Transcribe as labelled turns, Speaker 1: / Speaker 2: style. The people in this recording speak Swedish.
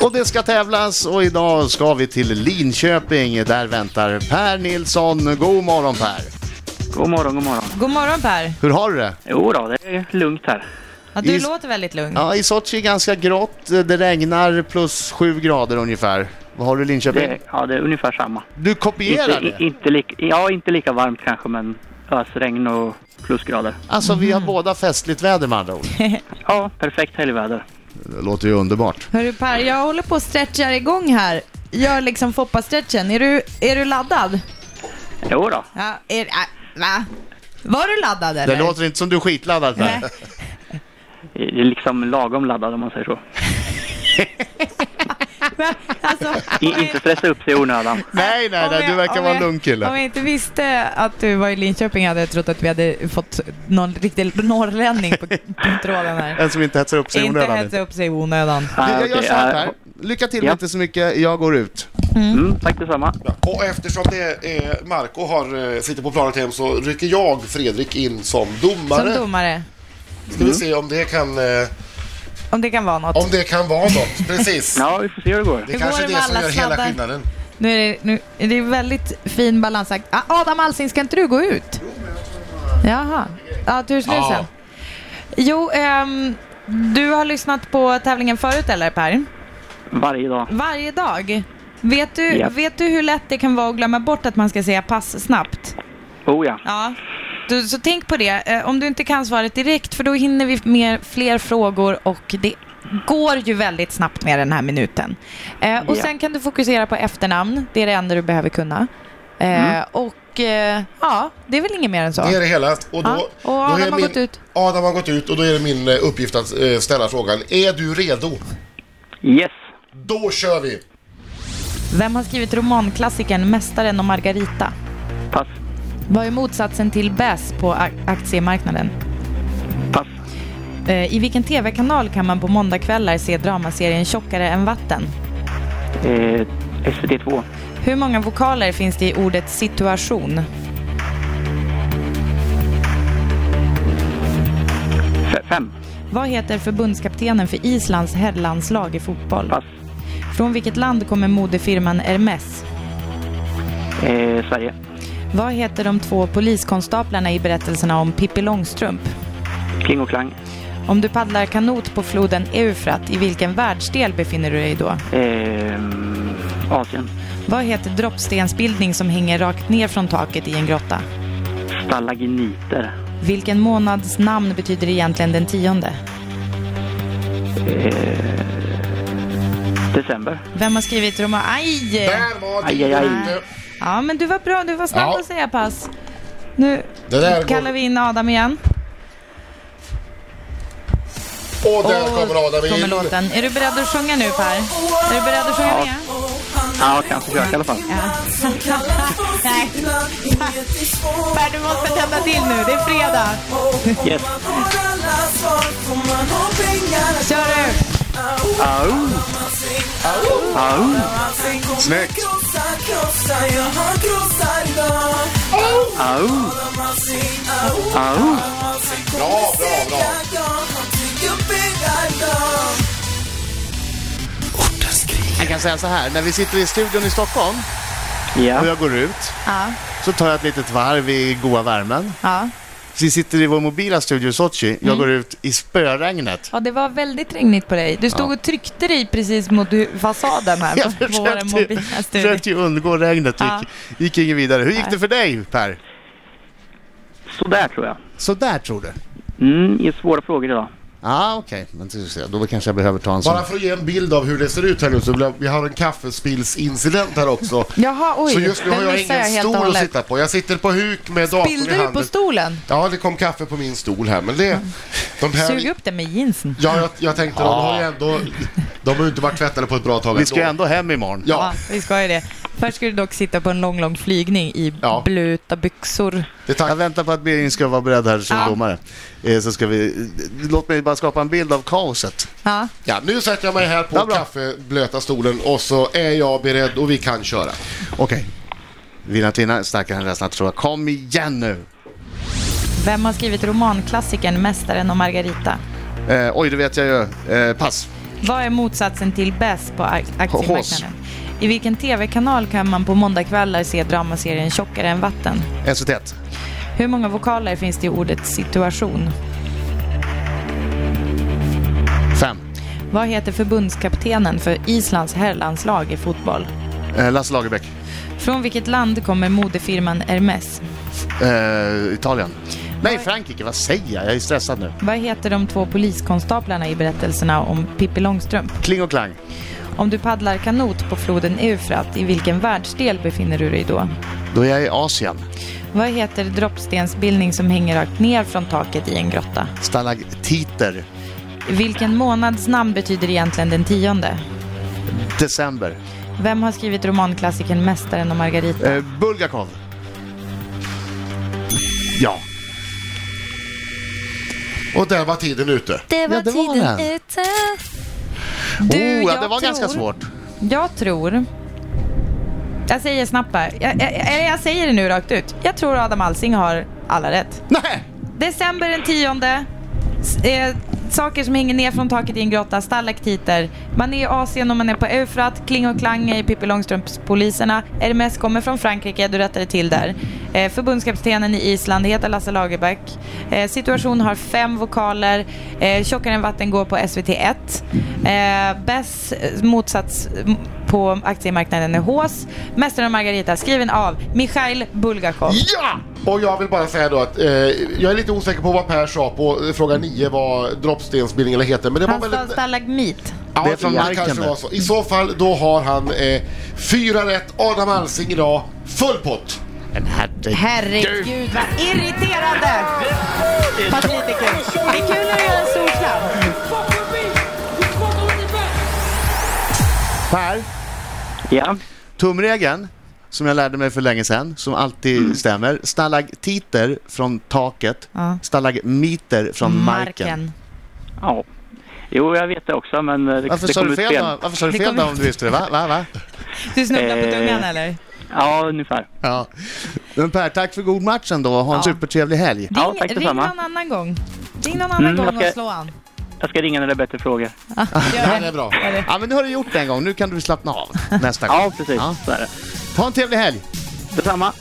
Speaker 1: Och det ska tävlas och idag ska vi till Linköping. Där väntar Per Nilsson. God morgon Per!
Speaker 2: God morgon, god morgon.
Speaker 3: God morgon Per.
Speaker 1: Hur har du det?
Speaker 2: Jo då, det är lugnt här.
Speaker 3: Ja, du
Speaker 1: Is-
Speaker 3: låter väldigt lugn.
Speaker 1: Ja, i Sochi är ganska grått. Det regnar plus 7 grader ungefär. Vad har du i Linköping?
Speaker 2: Det, Mm. ja, det är ungefär samma.
Speaker 1: Du kopierar
Speaker 2: Inte, i-
Speaker 1: det?
Speaker 2: inte, lika, ja, inte lika varmt kanske, men ösregn och plusgrader.
Speaker 1: Alltså vi har båda festligt väder med andra ord.
Speaker 2: Ja, perfekt helgväder.
Speaker 1: Det låter ju underbart.
Speaker 3: Hörru Per, jag håller på och stretchar igång här. Gör liksom Foppa-stretchen. Är du, är du laddad?
Speaker 2: Jo då.
Speaker 3: Ja, är, äh, va? Var du laddad
Speaker 1: Det
Speaker 3: eller?
Speaker 1: låter inte som du är skitladdad
Speaker 3: Nej.
Speaker 1: Per.
Speaker 2: Det är liksom lagom laddad om man säger så.
Speaker 3: Men, alltså,
Speaker 2: I, inte stressa upp sig i onödan.
Speaker 1: Nej, nej,
Speaker 3: Om
Speaker 1: nej,
Speaker 3: jag-
Speaker 1: du verkar
Speaker 3: om
Speaker 1: vara en
Speaker 3: jag-
Speaker 1: lugn
Speaker 3: Om
Speaker 1: kille.
Speaker 3: jag inte visste att du var i Linköping hade jag trott att vi hade fått någon riktig norrlänning på tråden här.
Speaker 1: En som inte hetsar upp sig i
Speaker 3: Inte
Speaker 1: onödan.
Speaker 3: hetsa upp sig i onödan.
Speaker 1: Du, Jag gör
Speaker 2: okej,
Speaker 1: så här
Speaker 2: eh,
Speaker 1: Per. Lycka till
Speaker 2: Ja.
Speaker 1: inte så mycket, jag går ut.
Speaker 2: mm, tack detsamma.
Speaker 4: Och eftersom det är Marco har, eh, sitter på planet hem så rycker jag Fredrik in som
Speaker 3: Som Mm.
Speaker 4: domare.
Speaker 3: domare.
Speaker 4: Ska vi se om det kan, eh,
Speaker 3: Om det kan vara något.
Speaker 4: om det kan vara något. Precis.
Speaker 2: Ja, vi får se hur det går.
Speaker 4: Det
Speaker 3: Hur
Speaker 4: kanske
Speaker 3: går
Speaker 4: är
Speaker 3: det
Speaker 4: det
Speaker 3: med
Speaker 4: som
Speaker 3: alla
Speaker 4: gör hela
Speaker 3: sladdar?
Speaker 4: skillnaden.
Speaker 3: Nu är det, nu, är det väldigt fin balansakt. Ah, Adam Alsing, ska inte du gå ut? Jaha. Ja, tursnusen.
Speaker 4: Ja.
Speaker 3: Jo, ehm, du har lyssnat på tävlingen förut eller Per?
Speaker 2: Varje dag.
Speaker 3: Varje dag. Vet du,
Speaker 2: Japp.
Speaker 3: vet du hur lätt det kan vara att glömma bort att man ska säga pass snabbt?
Speaker 2: Oh ja.
Speaker 3: Ja. Du, så tänk på det, eh, om du inte kan svaret direkt, för då hinner vi med fler frågor och det går ju väldigt snabbt med den här minuten. Eh, och
Speaker 2: Ja.
Speaker 3: sen kan du fokusera på efternamn, det är det enda du behöver kunna. Eh, Och eh, ja, det är väl inget mer än så.
Speaker 4: Mm. Det är det hela. Och,
Speaker 3: Ja,
Speaker 4: då,
Speaker 3: och
Speaker 4: då
Speaker 3: Adam
Speaker 4: är det
Speaker 3: har
Speaker 4: min,
Speaker 3: gått ut.
Speaker 4: Adam har gått ut och då är det min eh, uppgift att eh, ställa frågan. Är du redo?
Speaker 2: Yes.
Speaker 4: Då kör vi!
Speaker 3: Vem har skrivit romanklassikern Mästaren och Margarita?
Speaker 2: Pass.
Speaker 3: Vad är motsatsen till bäs på a- aktiemarknaden?
Speaker 2: Pass.
Speaker 3: Eh, I vilken tv-kanal kan man på måndagkvällar se dramaserien Tjockare än vatten?
Speaker 2: Eh, SVT2.
Speaker 3: Hur många vokaler finns det i ordet situation?
Speaker 2: F- fem.
Speaker 3: Vad heter förbundskaptenen för Islands herrlandslag i fotboll?
Speaker 2: Pass.
Speaker 3: Från vilket land kommer modefirman Hermes?
Speaker 2: Eh, Sverige.
Speaker 3: Vad heter de två poliskonstaplarna i berättelserna om Pippi Långstrump?
Speaker 2: Kling och Klang.
Speaker 3: Om du paddlar kanot på floden Eufrat, i vilken världsdel befinner du dig då?
Speaker 2: Eh, Asien.
Speaker 3: Vad heter droppstensbildning som hänger rakt ner från taket i en grotta?
Speaker 2: Stalagniter.
Speaker 3: Vilken månads namn betyder egentligen den tionde?
Speaker 2: December.
Speaker 3: Vem har skrivit Roma... Aj!
Speaker 4: Där var
Speaker 2: Aj, aj, aj.
Speaker 4: tiden ute.
Speaker 3: Ja, men du var bra. Du var snabb
Speaker 4: Ja.
Speaker 3: att säga pass. Nu
Speaker 4: Det där
Speaker 3: kallar
Speaker 4: går...
Speaker 3: vi in Adam igen.
Speaker 4: Och där
Speaker 3: Och
Speaker 4: kommer Adam
Speaker 3: kommer
Speaker 4: in.
Speaker 3: låten. Är du beredd att sjunga nu Per? Är du beredd att sjunga
Speaker 2: Ja.
Speaker 3: med?
Speaker 2: Ja, kan försöka i alla fall.
Speaker 3: Nej. Per, du måste tända till nu. Det är fredag.
Speaker 2: Yes.
Speaker 3: Kör du.
Speaker 2: Au! Au!
Speaker 1: Snyggt.
Speaker 2: Au! Au!
Speaker 4: Bra, bra, bra.
Speaker 1: Jag kan säga så här, när vi sitter i studion i Stockholm och
Speaker 2: Ja,
Speaker 1: jag går ut
Speaker 3: Ja.
Speaker 1: så tar jag ett litet varv i goa värmen.
Speaker 3: Ja.
Speaker 1: Vi sitter i vår mobila studio i Sochi, jag går ut i spöregnet.
Speaker 3: Mm. ja, det var väldigt regnigt på dig. Du stod och tryckte dig precis mot hu- fasaden här
Speaker 1: Jag
Speaker 3: på vår
Speaker 1: försökte,
Speaker 3: mobila studio.
Speaker 1: försökte ju undgå regnet,
Speaker 3: Ja.
Speaker 1: gick, gick ingen vidare. Hur gick det för dig Per?
Speaker 2: sådär tror jag.
Speaker 1: Så där tror du?
Speaker 2: Mm, det är svåra frågor idag.
Speaker 1: Ja, ah, okej. Men du ser, Då kanske jag behöver ta en sån.
Speaker 4: Bara för att ge en bild av hur det ser ut här nu så vill jag- vi har en kaffespillsincident här också.
Speaker 3: Jaha, oj.
Speaker 4: Så just nu har
Speaker 3: Den
Speaker 4: jag
Speaker 3: missade
Speaker 4: ingen
Speaker 3: helt och
Speaker 4: stol att
Speaker 3: hållet.
Speaker 4: sitta på. Jag sitter på huk med datorn i
Speaker 3: Spillde du
Speaker 4: handen.
Speaker 3: på Mm. stolen?
Speaker 4: Ja, det kom kaffe på min stol här, men det...
Speaker 3: Sug
Speaker 4: De här
Speaker 3: upp den med jeansen.
Speaker 4: ja, jag, jag tänkte, de har ju ändå... De har ju inte varit tvättade på ett bra tag
Speaker 1: Vi ska ju
Speaker 4: ändå.
Speaker 1: ändå hem imorgon.
Speaker 3: Ja,
Speaker 4: Ja,
Speaker 3: vi ska ju det. Först ska du dock sitta på en lång, lång flygning i
Speaker 4: Ja.
Speaker 3: bluta byxor.
Speaker 4: det är
Speaker 1: Jag
Speaker 4: tack.
Speaker 1: väntar på att Birgin ska vara beredd här som
Speaker 3: Ja.
Speaker 1: domare. Eh, så ska vi... Låt mig bara skapa en bild av kaoset.
Speaker 3: Ja.
Speaker 4: Ja, nu sätter jag mig här på
Speaker 1: Ja, bra.
Speaker 4: kaffeblöta stolen och så är jag beredd och vi kan köra.
Speaker 1: Okej. Vill att vinna starkare än resten att tro. Kom igen nu!
Speaker 3: Vem har skrivit romanklassikern Mästaren och Margarita?
Speaker 1: Eh, oj, det vet jag ju. Eh, pass.
Speaker 3: Vad är motsatsen till bäst på ak-
Speaker 1: Hås.
Speaker 3: aktiemarknaden? I vilken tv-kanal kan man på måndagkvällar se dramaserien Tjockare än vatten?
Speaker 1: SVT.
Speaker 3: Hur många vokaler finns det i ordet situation?
Speaker 1: Fem.
Speaker 3: Vad heter förbundskaptenen för Islands herrlandslag i fotboll?
Speaker 1: Eh, Lasse Lagerbäck.
Speaker 3: Från vilket land kommer modefirman Hermes?
Speaker 1: Eh, Italien. Nej, Frankrike. Vad säger jag? Jag är stressad nu.
Speaker 3: Vad heter de två poliskonstaplarna i berättelserna om Pippi Långstrump?
Speaker 1: Kling och klang.
Speaker 3: Om du paddlar kanot på floden Eufrat, i vilken världsdel befinner du dig då?
Speaker 1: Då är jag i Asien.
Speaker 3: Vad heter droppstensbildning som hänger rakt ner från taket i en grotta?
Speaker 1: Stalagtiter.
Speaker 3: Vilken månads namn betyder egentligen den tionde?
Speaker 1: December.
Speaker 3: Vem har skrivit romanklassikern Mästaren och Margarita?
Speaker 1: Eh, Bulgakov. Ja.
Speaker 4: Och där var tiden ute.
Speaker 5: Det var
Speaker 1: Ja, det var
Speaker 5: tiden
Speaker 1: den.
Speaker 5: ute.
Speaker 3: Du,
Speaker 1: oh, ja,
Speaker 3: jag
Speaker 1: det var ganska
Speaker 3: tror-
Speaker 1: svårt.
Speaker 3: Jag tror... Jag säger snabbt här. Jag, jag, jag, jag säger det nu rakt ut. Jag tror Adam Alsing har alla rätt.
Speaker 1: Nej!
Speaker 3: December den tionde. S- Eh, saker som hänger ner från taket i en grotta, stalaktiter. Man är i Asien och man är på Eufrat. Kling och Klang är Pippi Långstrumps-poliserna. RMS kommer från Frankrike, du rättade till där. Eh, förbundskaptenen i Island heter Lasse Lagerbäck. Eh, situation har fem vokaler. Eh, tjockare än vatten går på SVT1. Eh, Bess eh, motsats m- på aktiemarknaden är Hås. Mästaren och Margarita skriven av Mikhail Bulgakov.
Speaker 4: Ja! Och jag vill bara säga då att eh, jag är lite osäker på vad Per sa på eh, fråga 9 vad droppstensbildning eller heter. Men det
Speaker 3: Han
Speaker 4: var
Speaker 3: sa
Speaker 4: väldigt...
Speaker 3: stalagmit.
Speaker 4: Ja,
Speaker 1: Det är från marken
Speaker 4: kanske
Speaker 1: där.
Speaker 4: var så. I så fall då har han eh, fyra rätt. Adam Alsing idag. Full pott!
Speaker 1: Men herregud.
Speaker 3: Herregud vad irriterande! Fast lite kul. Det är kul när du gör en stor slam.
Speaker 1: Per,
Speaker 2: Ja.
Speaker 1: tumregeln som jag lärde mig för länge sedan, som alltid
Speaker 3: Mm.
Speaker 1: stämmer. Stalagtiter från taket,
Speaker 3: Ja.
Speaker 1: stalagmiter från marken.
Speaker 3: Marken.
Speaker 2: ja. Jo, jag vet det också, men eh, det,
Speaker 1: Varför
Speaker 2: det
Speaker 1: sa
Speaker 2: kom
Speaker 1: du
Speaker 2: ut
Speaker 1: fel då? Varför sa du
Speaker 3: Det
Speaker 1: fel
Speaker 3: kom
Speaker 1: då
Speaker 3: ut.
Speaker 1: om du visste det? Va? Va? Va?
Speaker 3: Du snubblar på
Speaker 2: Eh.
Speaker 3: tungan eller?
Speaker 2: Ja, ungefär.
Speaker 1: Ja. Men Per, tack för god match ändå och ha en
Speaker 3: Ja.
Speaker 1: supertrevlig helg.
Speaker 3: Ring,
Speaker 2: Ja, tack
Speaker 3: ring
Speaker 2: detsamma.
Speaker 3: någon annan gång. Ring någon annan
Speaker 2: Mm, jag
Speaker 3: gång och
Speaker 2: ska-
Speaker 3: slå an.
Speaker 2: Jag ska ringa när det är bättre frågor.
Speaker 4: Ja, det är bra.
Speaker 1: Ja, men nu har du gjort det en gång. Nu kan du slappna av nästa gång.
Speaker 2: Ja, precis.
Speaker 1: Ja.
Speaker 2: Så är det.
Speaker 1: Ha en trevlig helg!
Speaker 2: Detsamma.